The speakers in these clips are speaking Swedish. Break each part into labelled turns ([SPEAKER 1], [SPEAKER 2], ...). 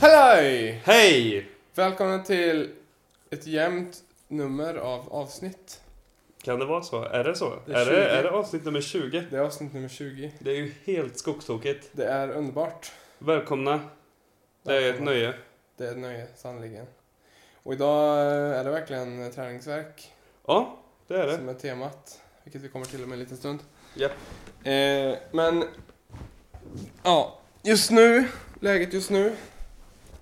[SPEAKER 1] Halloj!
[SPEAKER 2] Hej!
[SPEAKER 1] Välkomna till ett jämnt nummer av avsnitt.
[SPEAKER 2] Kan det vara så? Är det så?
[SPEAKER 1] Det
[SPEAKER 2] Det
[SPEAKER 1] är
[SPEAKER 2] är,
[SPEAKER 1] 20.
[SPEAKER 2] det, är det avsnitt nummer 20?
[SPEAKER 1] Det är avsnitt nummer 20.
[SPEAKER 2] Det är ju helt skogstokigt.
[SPEAKER 1] Det är underbart.
[SPEAKER 2] Välkomna. Det är ett
[SPEAKER 1] Välkomna.
[SPEAKER 2] nöje.
[SPEAKER 1] Det är ett nöje, sannerligen. Och idag eh, är det verkligen träningsverk
[SPEAKER 2] Ja, det är det.
[SPEAKER 1] som är temat. Vilket vi kommer till om en liten stund.
[SPEAKER 2] Japp.
[SPEAKER 1] Eh, men, ja. Just nu, läget just nu.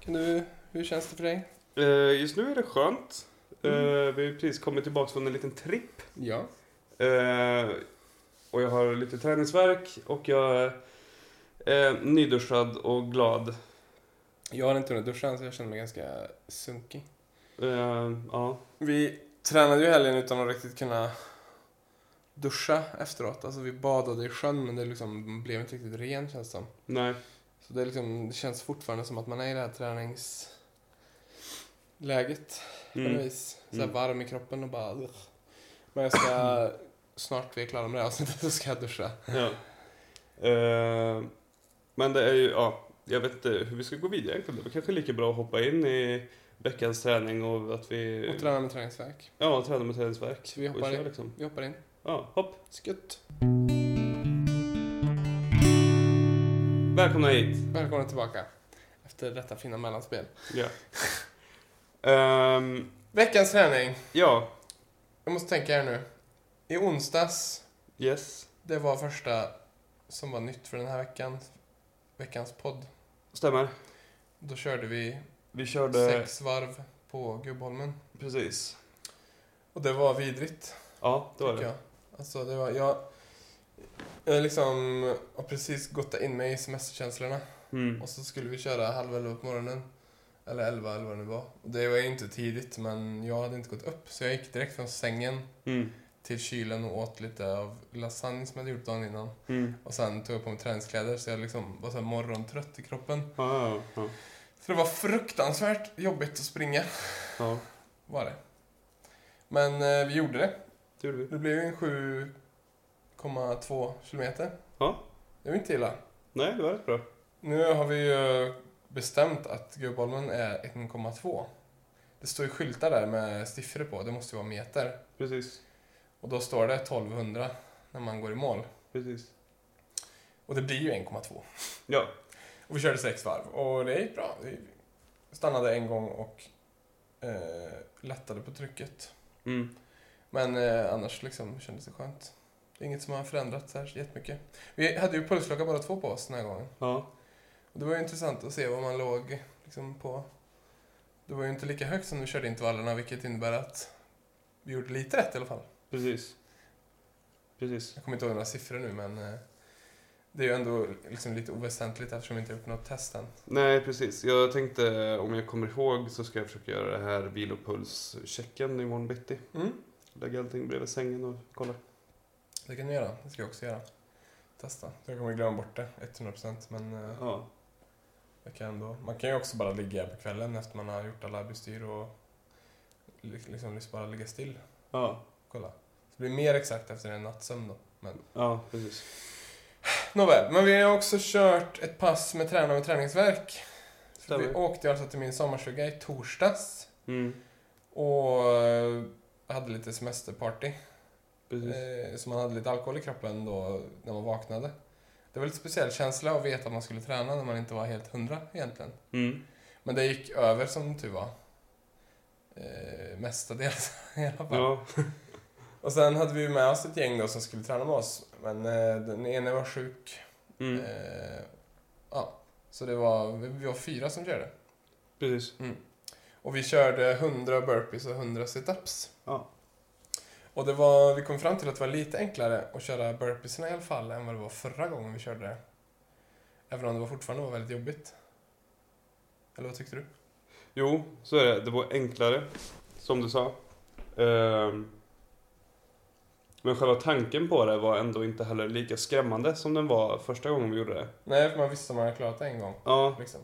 [SPEAKER 1] Kan du, hur känns det för dig?
[SPEAKER 2] Eh, Just nu är det skönt. Eh, Vi har precis kommit tillbaka från en liten tripp.
[SPEAKER 1] Ja.
[SPEAKER 2] Eh, Och jag har lite träningsvärk och jag är eh, nyduschad och glad.
[SPEAKER 1] Jag har inte hunnit duscha än så jag känner mig ganska sunkig.
[SPEAKER 2] Eh, Ja,
[SPEAKER 1] Vi tränade ju helgen utan att riktigt kunna duscha efteråt. Alltså vi badade i sjön men det liksom blev inte riktigt ren känns det som.
[SPEAKER 2] nej.
[SPEAKER 1] Så det, är liksom, det känns fortfarande som att man är i det här träningsläget på något
[SPEAKER 2] Mm.
[SPEAKER 1] vis. Såhär
[SPEAKER 2] Mm.
[SPEAKER 1] varm i kroppen och bara... ugh. Men jag ska... Snart vi är klara med det här avsnittet så ska jag duscha.
[SPEAKER 2] Ja. Eh, men det är ju, ja, jag vet inte hur vi ska gå vidare egentligen. Det är kanske lika bra att hoppa in i veckans träning och att vi
[SPEAKER 1] Och träna med träningsvärk.
[SPEAKER 2] ja, tränar med träningsvärk.
[SPEAKER 1] Så vi hoppar
[SPEAKER 2] och
[SPEAKER 1] in.
[SPEAKER 2] kör, liksom.
[SPEAKER 1] Vi hoppar in.
[SPEAKER 2] Ja, hopp.
[SPEAKER 1] Skutt.
[SPEAKER 2] Välkomna hit!
[SPEAKER 1] Välkomna tillbaka. Efter detta fina mellanspel.
[SPEAKER 2] Ja. Ehm,
[SPEAKER 1] Veckans träning.
[SPEAKER 2] ja,
[SPEAKER 1] Jag måste tänka här nu. I onsdags
[SPEAKER 2] yes.
[SPEAKER 1] Det var första som var nytt för den här veckan. Veckans podd.
[SPEAKER 2] Stämmer.
[SPEAKER 1] Då körde vi
[SPEAKER 2] Vi körde...
[SPEAKER 1] sex varv på Gubbholmen.
[SPEAKER 2] Precis.
[SPEAKER 1] Och det var vidrigt,
[SPEAKER 2] Ja, det var
[SPEAKER 1] tycker
[SPEAKER 2] det.
[SPEAKER 1] jag. Alltså, det var... Jag, jag liksom har precis gått in mig i semesterkänslorna.
[SPEAKER 2] Mm.
[SPEAKER 1] Och så skulle vi köra halv elva på morgonen. Eller elva, eller vad det nu var. Och det var ju inte tidigt, men jag hade inte gått upp. Så jag gick direkt från sängen
[SPEAKER 2] Mm.
[SPEAKER 1] till kylen och åt lite av lasagne som jag hade gjort dagen innan.
[SPEAKER 2] Mm.
[SPEAKER 1] Och sen tog jag på mig träningskläder, så jag liksom var så här morgontrött i kroppen.
[SPEAKER 2] Ja, ja, ja.
[SPEAKER 1] Så det var fruktansvärt jobbigt att springa,
[SPEAKER 2] ja,
[SPEAKER 1] var det. Men eh, vi gjorde det.
[SPEAKER 2] det gjorde vi.
[SPEAKER 1] Det blev ju en 7,2 kilometer.
[SPEAKER 2] Ja.
[SPEAKER 1] Det var inte illa.
[SPEAKER 2] Nej, det var rätt bra.
[SPEAKER 1] Nu har vi ju bestämt att Gubbholmen är 1,2. Det står ju skyltar där med siffror på, det måste ju vara meter.
[SPEAKER 2] Precis.
[SPEAKER 1] Och då står det 1200 när man går i mål.
[SPEAKER 2] Precis.
[SPEAKER 1] Och det blir ju 1,2.
[SPEAKER 2] Ja.
[SPEAKER 1] Och vi körde sex varv och det gick bra. Vi stannade en gång och eh, lättade på trycket.
[SPEAKER 2] Mm.
[SPEAKER 1] Men eh, annars liksom kändes det skönt. Det är inget som har förändrats här så jättemycket. Vi hade ju pulsklocka bara två på oss den här gången.
[SPEAKER 2] Ja.
[SPEAKER 1] Och det var ju intressant att se vad man låg liksom, på. Det var ju inte lika högt som vi körde intervallerna vilket innebär att vi gjorde lite rätt i alla fall.
[SPEAKER 2] Precis. Precis.
[SPEAKER 1] Jag kommer inte ihåg några siffror nu men eh, det är ju ändå liksom lite oväsentligt eftersom vi inte har gjort något test än.
[SPEAKER 2] Nej, precis. Jag tänkte, om jag kommer ihåg så ska jag försöka göra det här vilopulschecken imorgon bitti.
[SPEAKER 1] Mm.
[SPEAKER 2] Lägga allting bredvid sängen och kolla.
[SPEAKER 1] Det kan du göra. Det ska jag också göra. Testa. Jag kommer glömma bort det 100% men eh,
[SPEAKER 2] Ja,
[SPEAKER 1] Jag kan ändå. Man kan ju också bara ligga på kvällen efter man har gjort alla bestyr och li- liksom bara ligga still.
[SPEAKER 2] ja,
[SPEAKER 1] Kolla. Så det blir mer exakt efter en nattsömn då.
[SPEAKER 2] ja precis.
[SPEAKER 1] Nåväl, men vi har också kört ett pass med tränare och träningsverk. För vi
[SPEAKER 2] Stämmer.
[SPEAKER 1] åkte ju alltså till min sommarstuga i torsdags
[SPEAKER 2] Mm,
[SPEAKER 1] och eh, hade lite semesterparty.
[SPEAKER 2] precis.
[SPEAKER 1] Eh, så man hade lite alkohol i kroppen då när man vaknade. Det var lite speciell känsla att veta att man skulle träna när man inte var helt hundra egentligen.
[SPEAKER 2] Mm,
[SPEAKER 1] Men det gick över som tur var. Eh, mestadels i alla fall.
[SPEAKER 2] ja,
[SPEAKER 1] Och sen hade vi ju med oss ett gäng då som skulle träna med oss. Men eh, den ene var sjuk.
[SPEAKER 2] mm,
[SPEAKER 1] Eh, ja. Så det var, vi- vi var fyra som körde.
[SPEAKER 2] precis.
[SPEAKER 1] Och vi körde 100 burpees och 100 situps.
[SPEAKER 2] Ja.
[SPEAKER 1] Och det var, vi kom fram till att det var lite enklare att köra burpeesen i alla fall än vad det var förra gången vi körde det. Även om det var fortfarande var väldigt jobbigt. Eller vad tyckte du?
[SPEAKER 2] Jo, så är det. Det var enklare, som du sa. Ehm, men själva tanken på det var ändå inte heller lika skrämmande som den var första gången vi gjorde det.
[SPEAKER 1] Nej, för man visste att man hade klarat det en gång.
[SPEAKER 2] Ja,
[SPEAKER 1] Liksom.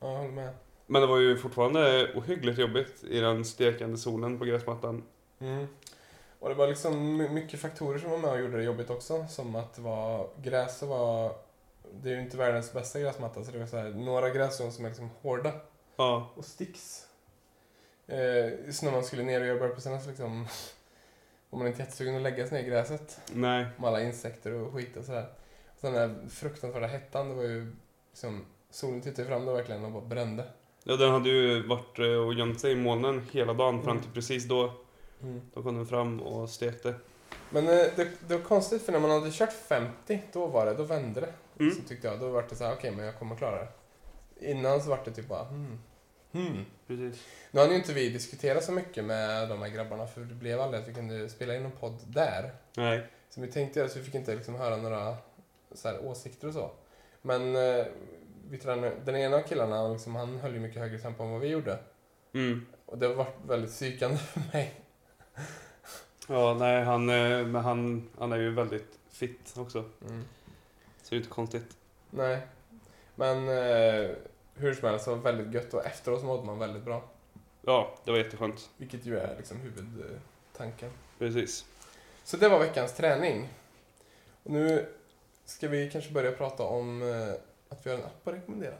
[SPEAKER 1] Ja, jag håller med.
[SPEAKER 2] men det var ju fortfarande ohyggligt jobbigt i den stekande solen på gräsmattan.
[SPEAKER 1] Mm. Och det var liksom my- mycket faktorer som var med och gjorde det jobbigt också. Som att det var, gräset var det är ju inte världens bästa gräsmatta så det var så här, några grässtrån som är liksom hårda
[SPEAKER 2] Ja,
[SPEAKER 1] och sticks. Eh, just när man skulle ner och göra burpeesen så liksom var man inte jättesugen att lägga sig ner i gräset
[SPEAKER 2] nej.
[SPEAKER 1] med alla insekter och skit och sådär. Och sen den här fruktansvärda hettan, det var ju liksom solen tittade fram då verkligen och bara brände.
[SPEAKER 2] Ja, den hade ju varit eh, och gömt sig i molnen hela dagen fram till
[SPEAKER 1] Mm.
[SPEAKER 2] precis då. Då kom den fram och stekte.
[SPEAKER 1] Men eh, det, det var konstigt för när man hade kört 50, då var det, då vände det.
[SPEAKER 2] Mm.
[SPEAKER 1] Så tyckte jag, då var det så här, okej men jag kommer klara det. Innan så var det typ bara, hmm. hmm.
[SPEAKER 2] Precis.
[SPEAKER 1] Nu har ju inte vi diskuterat så mycket med de här grabbarna för det blev aldrig att vi kunde spela in en podd där.
[SPEAKER 2] Nej.
[SPEAKER 1] Så vi tänkte göra så vi fick inte liksom höra några så här, åsikter och så. Men eh, vi tränade, den ena killarna, liksom, han höll ju mycket högre tempo än vad vi gjorde.
[SPEAKER 2] Mm.
[SPEAKER 1] Och det var väldigt psykande för mig.
[SPEAKER 2] Ja, nej, han, eh, men han, han är ju väldigt fit också.
[SPEAKER 1] Mm.
[SPEAKER 2] Så det är inte konstigt.
[SPEAKER 1] Nej. Men eh, hur som helst, det var väldigt gött och efteråt mådde man väldigt bra.
[SPEAKER 2] Ja, det var jätteskönt.
[SPEAKER 1] Vilket ju är liksom huvudtanken.
[SPEAKER 2] Precis.
[SPEAKER 1] Så det var veckans träning. Och nu ska vi kanske börja prata om eh, att vi har en app att rekommendera.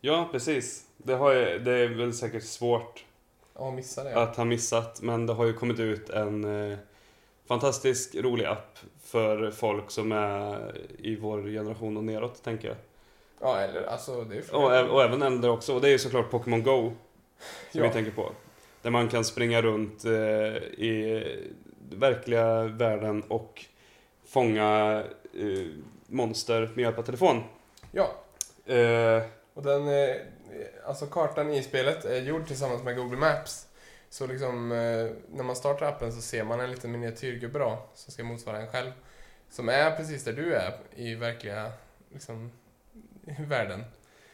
[SPEAKER 2] Ja, precis. Det, har ju, det är väl säkert svårt
[SPEAKER 1] Ja, missade jag.
[SPEAKER 2] att ha missat, men det har ju kommit ut en eh, fantastisk rolig app för folk som är i vår generation och neråt, tänker jag.
[SPEAKER 1] Ja, eller alltså det är
[SPEAKER 2] Och, ä- och även äldre också, och det är ju såklart Pokémon Go som vi
[SPEAKER 1] ja.
[SPEAKER 2] tänker på. Där man kan springa runt eh, i verkliga världen och fånga eh, monster med hjälp av telefon.
[SPEAKER 1] ja,
[SPEAKER 2] Eh,
[SPEAKER 1] och den, eh, alltså kartan i spelet är gjord tillsammans med Google Maps. Så liksom, eh, när man startar appen så ser man en liten miniatyrgubbe då, som ska motsvara en själv. Som är precis där du är i verkliga, liksom, världen.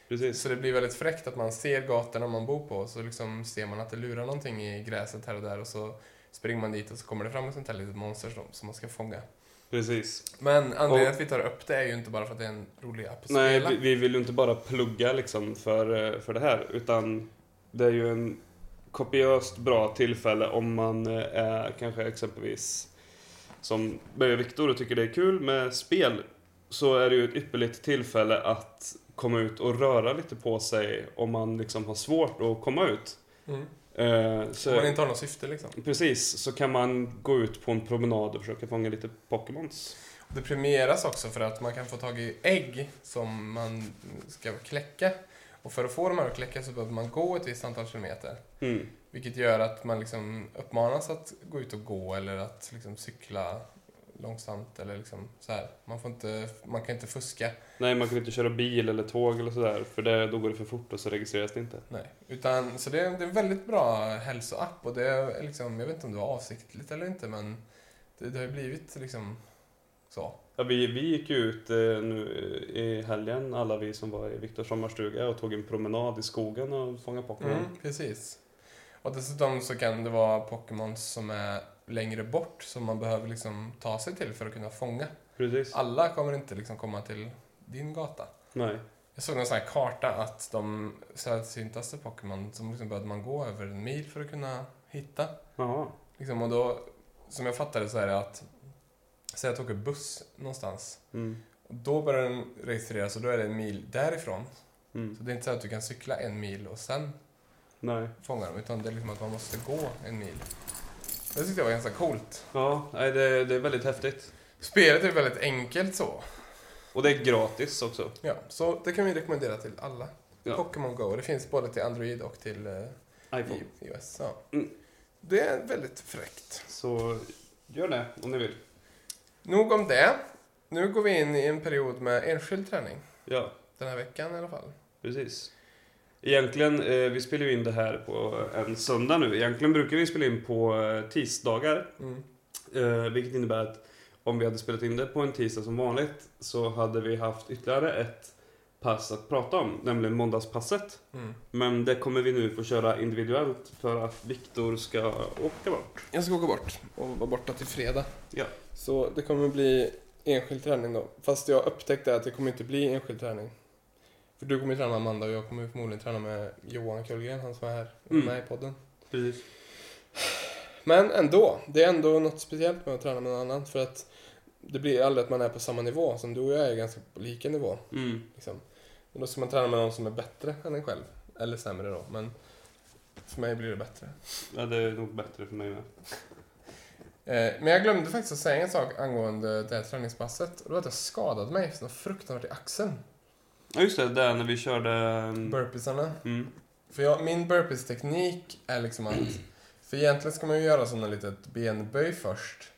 [SPEAKER 2] precis.
[SPEAKER 1] Så det blir väldigt fräckt att man ser gatorna man bor på så liksom ser man att det lurar någonting i gräset här och där och så springer man dit och så kommer det fram ett sånt här litet monster som, som man ska fånga.
[SPEAKER 2] precis.
[SPEAKER 1] Men anledningen
[SPEAKER 2] Och-
[SPEAKER 1] att vi tar upp det är ju inte bara för att det är en rolig app att
[SPEAKER 2] Nej,
[SPEAKER 1] spela.
[SPEAKER 2] vi, vi vill ju inte bara plugga liksom för, eh, för det här, utan det är ju en kopiöst bra tillfälle om man eh, är kanske exempelvis som mig och Viktor och tycker det är kul med spel, så är det ju ett ypperligt tillfälle att komma ut och röra lite på sig om man liksom har svårt att komma ut.
[SPEAKER 1] Mm.
[SPEAKER 2] Eh, Så,
[SPEAKER 1] Om man inte har något syfte liksom.
[SPEAKER 2] Precis, så kan man gå ut på en promenad och försöka fånga lite Pokémons.
[SPEAKER 1] Det premieras också för att man kan få tag i ägg som man ska kläcka. Och för att få dem här att kläcka så behöver man gå ett visst antal kilometer.
[SPEAKER 2] Mm.
[SPEAKER 1] Vilket gör att man liksom uppmanas att gå ut och gå eller att liksom cykla långsamt eller liksom så här. Man, får inte, man kan inte fuska.
[SPEAKER 2] Nej, man kan inte köra bil eller tåg eller sådär, för det, då går det för fort och så registreras det inte.
[SPEAKER 1] Nej. Utan, så det är, det är en väldigt bra hälsoapp och det är liksom, jag vet inte om det var avsiktligt eller inte men det, det har ju blivit liksom så.
[SPEAKER 2] Ja, vi, vi gick ju ut eh, nu eh, i helgen, alla vi som var i Viktors sommarstuga och tog en promenad i skogen och fångade Pokémon.
[SPEAKER 1] Mm, Precis. Och dessutom så kan det vara Pokémons som är längre bort som man behöver liksom ta sig till för att kunna fånga.
[SPEAKER 2] Precis.
[SPEAKER 1] Alla kommer inte liksom komma till din gata.
[SPEAKER 2] Nej.
[SPEAKER 1] Jag såg någon sån här karta att de sällsyntaste Pokémon som liksom behövde man gå över en mil för att kunna hitta.
[SPEAKER 2] Jaha.
[SPEAKER 1] Liksom, och då, som jag fattade så är det att, säg att jag åker buss någonstans.
[SPEAKER 2] Mm.
[SPEAKER 1] Och då börjar den registreras och då är det en mil därifrån.
[SPEAKER 2] Mm.
[SPEAKER 1] Så det är inte så att du kan cykla en mil och sen
[SPEAKER 2] Nej.
[SPEAKER 1] fånga dem, utan det är liksom att man måste gå en mil. Det tyckte jag var ganska coolt.
[SPEAKER 2] Ja, nej, det, det är väldigt häftigt.
[SPEAKER 1] Spelet är väldigt enkelt så.
[SPEAKER 2] Och det är gratis också.
[SPEAKER 1] Ja, så det kan vi rekommendera till alla.
[SPEAKER 2] Ja.
[SPEAKER 1] Pokémon Go, det finns både till Android och till eh,
[SPEAKER 2] iPhone.
[SPEAKER 1] i iOS. Ja.
[SPEAKER 2] Mm.
[SPEAKER 1] Det är väldigt fräckt.
[SPEAKER 2] Så gör det om ni vill.
[SPEAKER 1] Nog om det. Nu går vi in i en period med enskild träning.
[SPEAKER 2] Ja,
[SPEAKER 1] Den här veckan i alla fall.
[SPEAKER 2] precis. Egentligen, eh, vi spelar ju in det här på en söndag nu. Egentligen brukar vi spela in på eh, tisdagar.
[SPEAKER 1] Mm.
[SPEAKER 2] Eh, vilket innebär att om vi hade spelat in det på en tisdag som vanligt så hade vi haft ytterligare ett pass att prata om, nämligen måndagspasset.
[SPEAKER 1] Mm.
[SPEAKER 2] Men det kommer vi nu få köra individuellt för att Viktor ska åka bort.
[SPEAKER 1] Jag ska åka bort och vara borta till fredag.
[SPEAKER 2] Ja.
[SPEAKER 1] Så det kommer bli enskild träning då. Fast jag upptäckte att det kommer inte bli enskild träning. För du kommer ju träna med Amanda och jag kommer förmodligen träna med Johan Kullgren, han som är här
[SPEAKER 2] Mm.
[SPEAKER 1] med i podden.
[SPEAKER 2] Precis.
[SPEAKER 1] Men ändå, det är ändå något speciellt med att träna med någon annan för att det blir aldrig att man är på samma nivå som du och jag är ganska på lika nivå.
[SPEAKER 2] Mm.
[SPEAKER 1] Liksom. Och då ska man träna med någon som är bättre än en själv. Eller sämre då, men för mig blir det bättre.
[SPEAKER 2] Ja, det är nog bättre för mig med.
[SPEAKER 1] Eh, Men jag glömde faktiskt att säga en sak angående det här träningspasset. Och det var att jag skadat mig så fruktansvärt i axeln.
[SPEAKER 2] Ja, just det. Där när vi körde... mm,
[SPEAKER 1] Burpeesarna.
[SPEAKER 2] Mm.
[SPEAKER 1] För jag, min burpees-teknik är liksom att... För egentligen ska man ju göra sån en litet benböj först.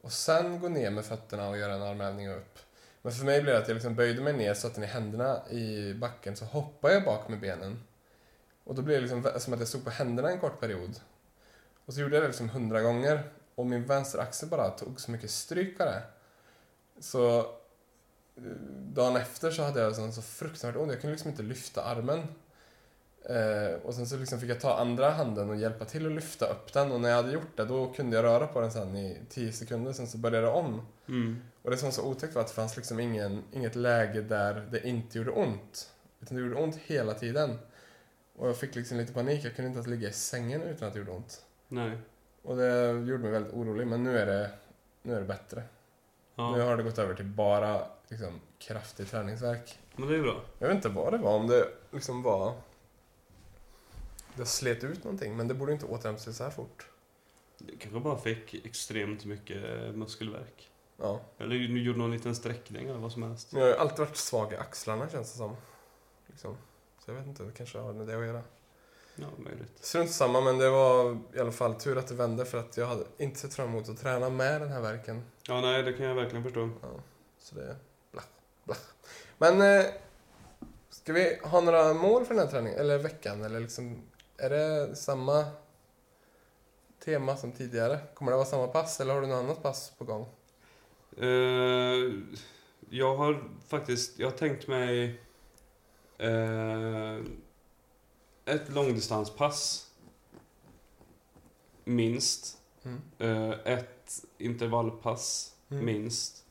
[SPEAKER 1] Och sen gå ner med fötterna och göra en armhävning och upp. Men för mig blev det att jag liksom böjde mig ner, satte ner händerna i backen, så hoppade jag bak med benen. Och då blev det liksom vä- som att jag stod på händerna en kort period. Och så gjorde jag det liksom hundra gånger. Och min vänstra axel bara tog så mycket stryk av det. Så eh, dagen efter så hade jag sån så fruktansvärt ont. Jag kunde liksom inte lyfta armen. Eh, och sen så liksom fick jag ta andra handen och hjälpa till att lyfta upp den och när jag hade gjort det då kunde jag röra på den sen i 10 sekunder, sen så började det om.
[SPEAKER 2] Mm.
[SPEAKER 1] Och det som var så otäckt var att det fanns liksom ingen, inget läge där det inte gjorde ont. Utan det gjorde ont hela tiden. Och jag fick liksom lite panik, jag kunde inte ens ligga i sängen utan att det gjorde ont.
[SPEAKER 2] Nej.
[SPEAKER 1] Och det gjorde mig väldigt orolig, men nu är det, nu är det bättre. Nu
[SPEAKER 2] Ja.
[SPEAKER 1] har det gått över till bara liksom, kraftig träningsvärk.
[SPEAKER 2] Men det är ju bra.
[SPEAKER 1] Jag vet inte vad det var, om det liksom var... Det slet ut någonting, men det borde inte återhämta sig så här fort.
[SPEAKER 2] Du kanske bara fick extremt mycket muskelvärk.
[SPEAKER 1] Ja.
[SPEAKER 2] Eller du gjorde någon liten sträckning eller vad som helst.
[SPEAKER 1] Men jag har ju alltid varit svag i axlarna känns det som. Liksom. Så jag vet inte, det kanske har med det att göra.
[SPEAKER 2] Ja, möjligt.
[SPEAKER 1] Strunt samma, men det var i alla fall tur att det vände för att jag hade inte sett fram emot att träna med den här verken.
[SPEAKER 2] Ja, nej, det kan jag verkligen förstå.
[SPEAKER 1] Så det... Blah, blah. Men... Eh, ska vi ha några mål för den här träningen, eller veckan? Eller liksom, är det samma tema som tidigare? Kommer det vara samma pass, eller har du något annat pass på gång?
[SPEAKER 2] Eh, jag har faktiskt, jag har tänkt mig eh, ett långdistanspass. Minst.
[SPEAKER 1] Mm.
[SPEAKER 2] Eh, ett intervallpass,
[SPEAKER 1] Mm.
[SPEAKER 2] minst.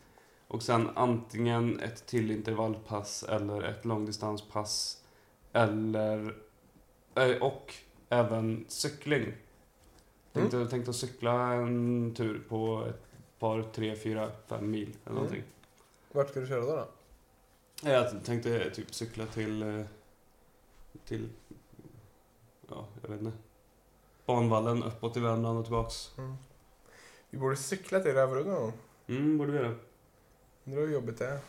[SPEAKER 2] Och sen antingen ett till intervallpass eller ett långdistanspass. Eller, eh, och även cykling. Jag
[SPEAKER 1] Mm.
[SPEAKER 2] tänkte, jag tänkte cykla en tur på ett par, tre, fyra, fem mil eller
[SPEAKER 1] Mm.
[SPEAKER 2] någonting.
[SPEAKER 1] Vart ska du köra då? då?
[SPEAKER 2] Jag tänkte typ cykla till, eh, till, ja, jag vet inte. Banvallen uppåt i Värmland och tillbaks.
[SPEAKER 1] Mm. Vi borde cykla till Rävrudden någon gång.
[SPEAKER 2] Mm, borde vi göra.
[SPEAKER 1] Undrar hur jobbigt det är.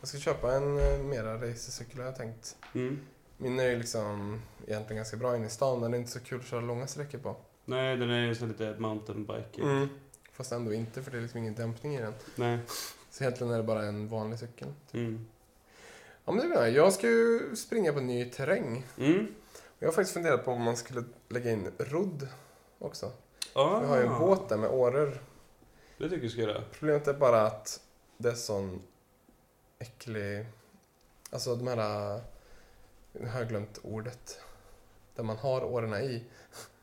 [SPEAKER 1] Jag ska köpa en eh, mera racercykel har jag tänkt.
[SPEAKER 2] Mm.
[SPEAKER 1] Min är ju liksom egentligen ganska bra inne i stan, men det är inte så kul att köra långa sträckor på.
[SPEAKER 2] Nej, den är ju sån lite mountainbike.
[SPEAKER 1] Mm. Fast ändå inte, för det är liksom ingen dämpning i den.
[SPEAKER 2] Nej.
[SPEAKER 1] Så egentligen är det bara en vanlig cykel. typ.
[SPEAKER 2] Mm.
[SPEAKER 1] Ja, men det är bra. Jag ska ju springa på ny terräng.
[SPEAKER 2] Mm.
[SPEAKER 1] Jag har faktiskt funderat på om man skulle lägga in rodd också.
[SPEAKER 2] Ah,
[SPEAKER 1] Vi har ju en båt där med åror.
[SPEAKER 2] Det tycker jag ska göra.
[SPEAKER 1] Problemet är bara att det är sån äcklig... Alltså de här... Nu har jag glömt ordet. Där man har årorna i.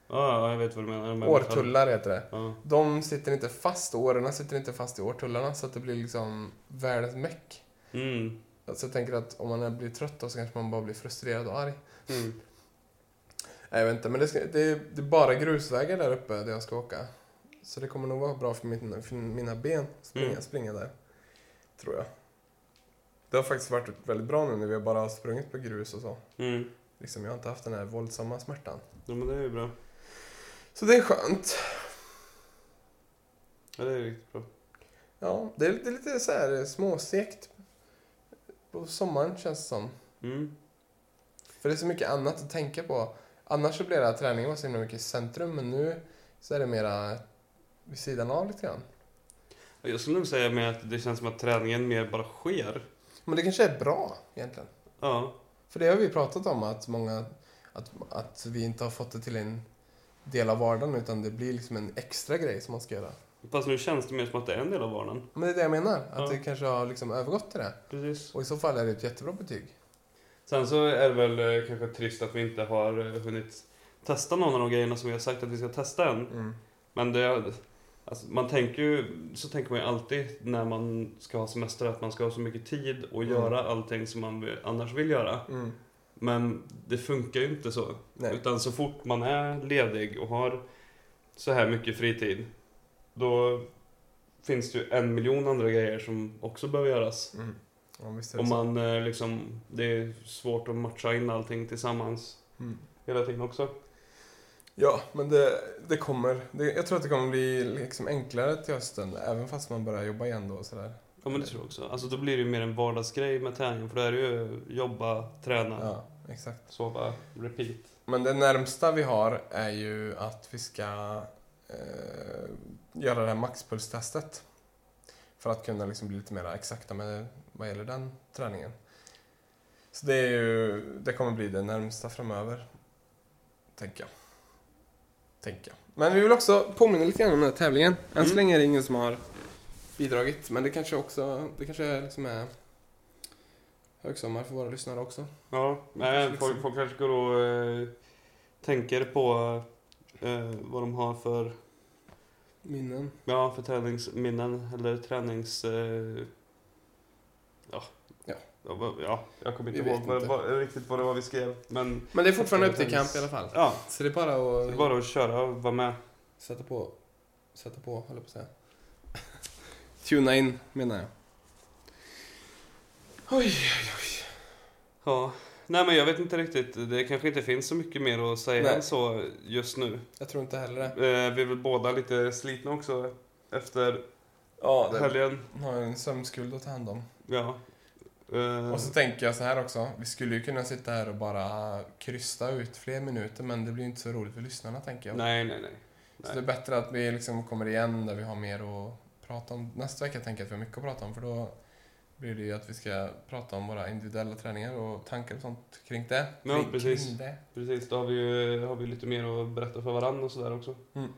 [SPEAKER 2] Ja, ja, jag vet vad du menar. men-
[SPEAKER 1] Årtullar heter det.
[SPEAKER 2] Ja.
[SPEAKER 1] De sitter inte fast, årorna sitter inte fast i årtullarna så att det blir liksom världens meck.
[SPEAKER 2] Mm.
[SPEAKER 1] Så jag tänker att om man blir trött då så kanske man bara blir frustrerad och arg.
[SPEAKER 2] Mm.
[SPEAKER 1] Nej, jag vet inte, men det, ska, det, är, det är bara grusvägar där uppe där jag ska åka. Så det kommer nog vara bra för, min, för mina ben att springa,
[SPEAKER 2] Mm.
[SPEAKER 1] springa där. Tror jag. Det har faktiskt varit väldigt bra nu när vi bara har sprungit på grus och så.
[SPEAKER 2] Mm.
[SPEAKER 1] Liksom, jag har inte haft den här våldsamma smärtan.
[SPEAKER 2] Ja, men det är ju bra.
[SPEAKER 1] Så det är skönt.
[SPEAKER 2] Ja, det är riktigt bra.
[SPEAKER 1] Ja, det är, det är lite så här eh, småsekt. På sommaren känns det som.
[SPEAKER 2] Mm.
[SPEAKER 1] För det är så mycket annat att tänka på. Annars så blir det här träningen var så himla mycket i centrum men nu så är det mera vid sidan av lite grann.
[SPEAKER 2] Jag skulle nog säga med att det känns som att träningen mer bara sker.
[SPEAKER 1] Men det kanske är bra egentligen.
[SPEAKER 2] Ja.
[SPEAKER 1] För det har vi pratat om att många, att, att vi inte har fått det till en del av vardagen utan det blir liksom en extra grej som man ska göra.
[SPEAKER 2] Fast nu känns det mer som att det är en del av vardagen.
[SPEAKER 1] Men det är det jag menar, att
[SPEAKER 2] Ja.
[SPEAKER 1] det kanske har liksom övergått till det.
[SPEAKER 2] Precis.
[SPEAKER 1] Och i så fall är det ett jättebra betyg.
[SPEAKER 2] Sen så är det väl eh, kanske trist att vi inte har eh, hunnit testa någon av de grejerna som vi har sagt att vi ska testa än.
[SPEAKER 1] Mm.
[SPEAKER 2] Men det, alltså, man tänker ju, så tänker man ju alltid när man ska ha semester att man ska ha så mycket tid och
[SPEAKER 1] Mm.
[SPEAKER 2] göra allting som man vill, annars vill göra.
[SPEAKER 1] Mm.
[SPEAKER 2] Men det funkar ju inte så.
[SPEAKER 1] Nej.
[SPEAKER 2] Utan så fort man är ledig och har så här mycket fritid, då finns det ju en miljon andra grejer som också behöver göras.
[SPEAKER 1] Mm. Ja, visst är det
[SPEAKER 2] Och
[SPEAKER 1] så.
[SPEAKER 2] man eh, liksom, det är svårt att matcha in allting tillsammans
[SPEAKER 1] Mm.
[SPEAKER 2] hela tiden också.
[SPEAKER 1] Ja, men det, det kommer. Det, jag tror att det kommer bli liksom enklare till hösten, även fast man börjar jobba igen då och sådär.
[SPEAKER 2] Ja men det tror jag också. Alltså då blir det ju mer en vardagsgrej med träningen för då är det ju jobba, träna,
[SPEAKER 1] Ja, exakt.
[SPEAKER 2] sova, repeat.
[SPEAKER 1] Men det närmsta vi har är ju att vi ska eh, göra det här maxpulstestet. För att kunna liksom bli lite mer exakta med vad gäller den träningen. Så det, är ju, det kommer bli det närmsta framöver. Tänker jag. Tänker jag. Men vi vill också påminna lite grann om den här tävlingen. Än så
[SPEAKER 2] Mm.
[SPEAKER 1] länge är det ingen som har bidragit. Men det kanske också det kanske liksom är högsommar för våra lyssnare också.
[SPEAKER 2] Ja, nej, folk, folk kanske går och eh, tänker på eh, vad de har för,
[SPEAKER 1] Minnen.
[SPEAKER 2] ja, för träningsminnen eller tränings... Eh, ja.
[SPEAKER 1] Ja.
[SPEAKER 2] Ja, vad- ja, jag kommer
[SPEAKER 1] Vi
[SPEAKER 2] inte
[SPEAKER 1] vet
[SPEAKER 2] ihåg vad,
[SPEAKER 1] inte.
[SPEAKER 2] vad, riktigt vad det var vi skrev. Men
[SPEAKER 1] Men det är fortfarande upp till camp i alla fall.
[SPEAKER 2] ja,
[SPEAKER 1] Så det är bara
[SPEAKER 2] det
[SPEAKER 1] att
[SPEAKER 2] är bara att köra och vara med.
[SPEAKER 1] sätta på, sätta på, höll jag på att säga. Tuna in, menar jag. Oj, oj, oj.
[SPEAKER 2] Ja. Nej men jag vet inte riktigt, det kanske inte finns så mycket mer att säga
[SPEAKER 1] Nej.
[SPEAKER 2] än så just nu.
[SPEAKER 1] Jag tror inte heller det.
[SPEAKER 2] Eh, vi är väl båda lite slitna också efter
[SPEAKER 1] Ja,
[SPEAKER 2] helgen.
[SPEAKER 1] Har en sömnskuld att ta hand om.
[SPEAKER 2] Ja. Eh,
[SPEAKER 1] Och så tänker jag så här också. Vi skulle ju kunna sitta här och bara krysta ut fler minuter, men det blir inte så roligt för lyssnarna, tänker jag.
[SPEAKER 2] nej, nej, nej.
[SPEAKER 1] Så det är bättre att vi liksom kommer igen där vi har mer att prata om. Nästa vecka tänker jag att vi har mycket att prata om för då blir det ju att vi ska prata om våra individuella träningar och tankar och sånt kring det.
[SPEAKER 2] Ja,
[SPEAKER 1] kring,
[SPEAKER 2] precis.
[SPEAKER 1] Kring det.
[SPEAKER 2] Precis, då har vi ju har vi lite mer att berätta för varandra och sådär också.
[SPEAKER 1] Mm.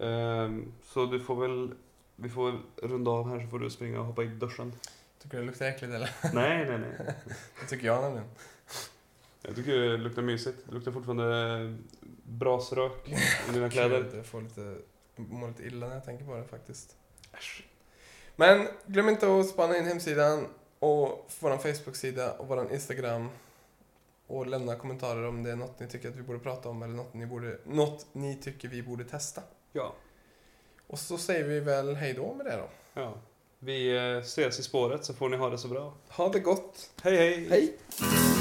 [SPEAKER 2] Ehm, så du får väl, vi får väl runda av här så får du springa och hoppa i duschen.
[SPEAKER 1] Tycker du det luktar äckligt eller?
[SPEAKER 2] nej, nej, nej.
[SPEAKER 1] Det tycker jag nämligen.
[SPEAKER 2] Jag tycker det luktar mysigt. Det luktar fortfarande brasrök i dina kläder.
[SPEAKER 1] Kul, Jag får lite, mår lite illa när jag tänker på det faktiskt. Men glöm inte att spana in hemsidan och vår Facebook-sida och vår Instagram. Och lämna kommentarer om det är något ni tycker att vi borde prata om eller något ni, borde, något ni tycker vi borde testa.
[SPEAKER 2] Ja.
[SPEAKER 1] Och så säger vi väl hej då med det då.
[SPEAKER 2] ja. Vi eh, ses i spåret så får ni ha det så bra.
[SPEAKER 1] Ha det gott.
[SPEAKER 2] Hej, hej!
[SPEAKER 1] Hej!